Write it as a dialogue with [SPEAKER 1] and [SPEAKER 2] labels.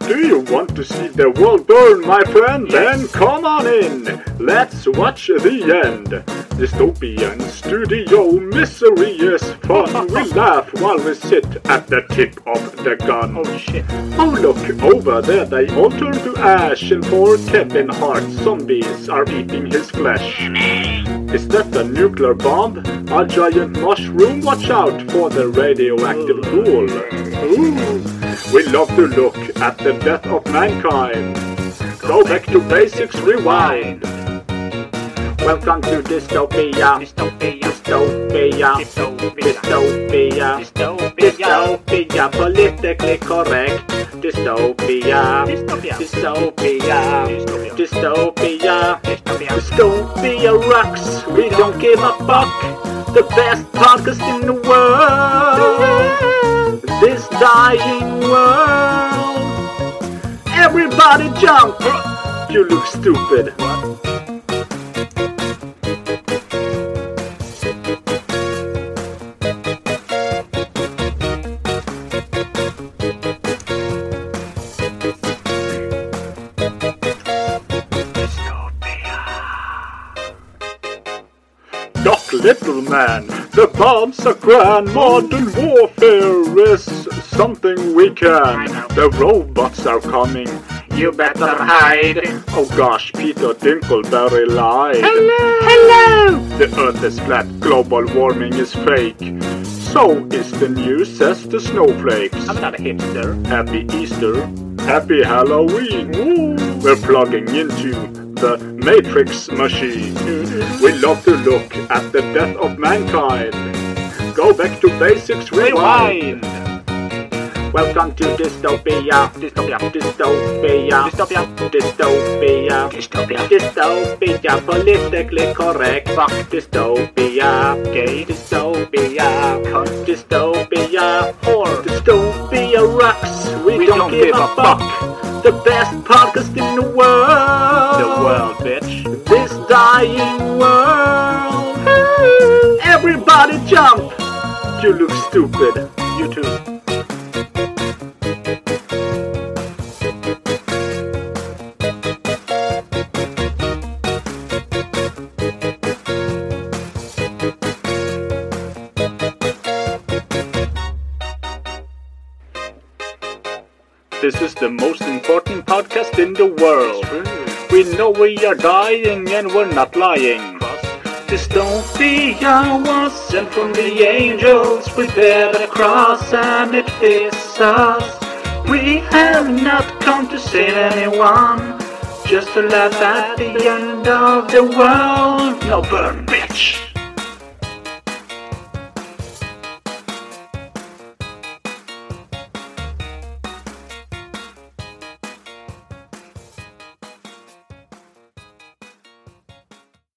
[SPEAKER 1] Do you want to see the world burn, my friend? Then come on in. Let's watch the end. Dystopian studio misery is fun. we laugh while we sit at the tip of the gun.
[SPEAKER 2] Oh shit.
[SPEAKER 1] Oh, look over there, they all turn to ash, and poor Kevin Hart zombies are eating his flesh. Is that a nuclear bomb? A giant mushroom? Watch out for the radioactive pool. Ooh. We love to look at the death of mankind. Go back to basics, rewind. Welcome to dystopia.
[SPEAKER 2] Dystopia.
[SPEAKER 1] Dystopia.
[SPEAKER 2] Dystopia.
[SPEAKER 1] Dystopia.
[SPEAKER 2] Dystopia.
[SPEAKER 1] Dystopia, politically correct. Dystopia.
[SPEAKER 2] Dystopia.
[SPEAKER 1] Dystopia. Dystopia.
[SPEAKER 2] Dystopia. Dystopia.
[SPEAKER 1] Dystopia rocks. We don't give a fuck. The best podcast in the world. This dying world. Everybody jump. You look stupid. Doc Little Man, the bombs are grand. Modern warfare is something we can. The robots are coming. You better hide. Oh gosh, Peter Dinkleberry lied. Hello! Hello! The earth is flat, global warming is fake. So is the news, says the snowflakes.
[SPEAKER 2] I'm not a hipster.
[SPEAKER 1] Happy Easter. Happy Halloween. We're plugging into the Matrix machine. We love to look at the death of mankind. Go back to basics, rewind.
[SPEAKER 2] Rewind.
[SPEAKER 1] Welcome to dystopia.
[SPEAKER 2] Dystopia.
[SPEAKER 1] Dystopia.
[SPEAKER 2] Dystopia.
[SPEAKER 1] Dystopia.
[SPEAKER 2] Dystopia.
[SPEAKER 1] Dystopia, politically correct. Fuck dystopia.
[SPEAKER 2] Gay.
[SPEAKER 1] Dystopia.
[SPEAKER 2] Cunt.
[SPEAKER 1] Dystopia.
[SPEAKER 2] Whore.
[SPEAKER 1] Dystopia rocks. We, don't, give, a fuck. The best podcast in the world.
[SPEAKER 2] The world, bitch.
[SPEAKER 1] This dying world. Everybody jump. You look stupid.
[SPEAKER 2] You too.
[SPEAKER 1] This is the most important podcast in the world. We know we are dying and we're not lying. Dystopia was sent from the angels. We bear the cross and it fits us. We have not come to save anyone, just to laugh at the end of the world. No burn, bitch!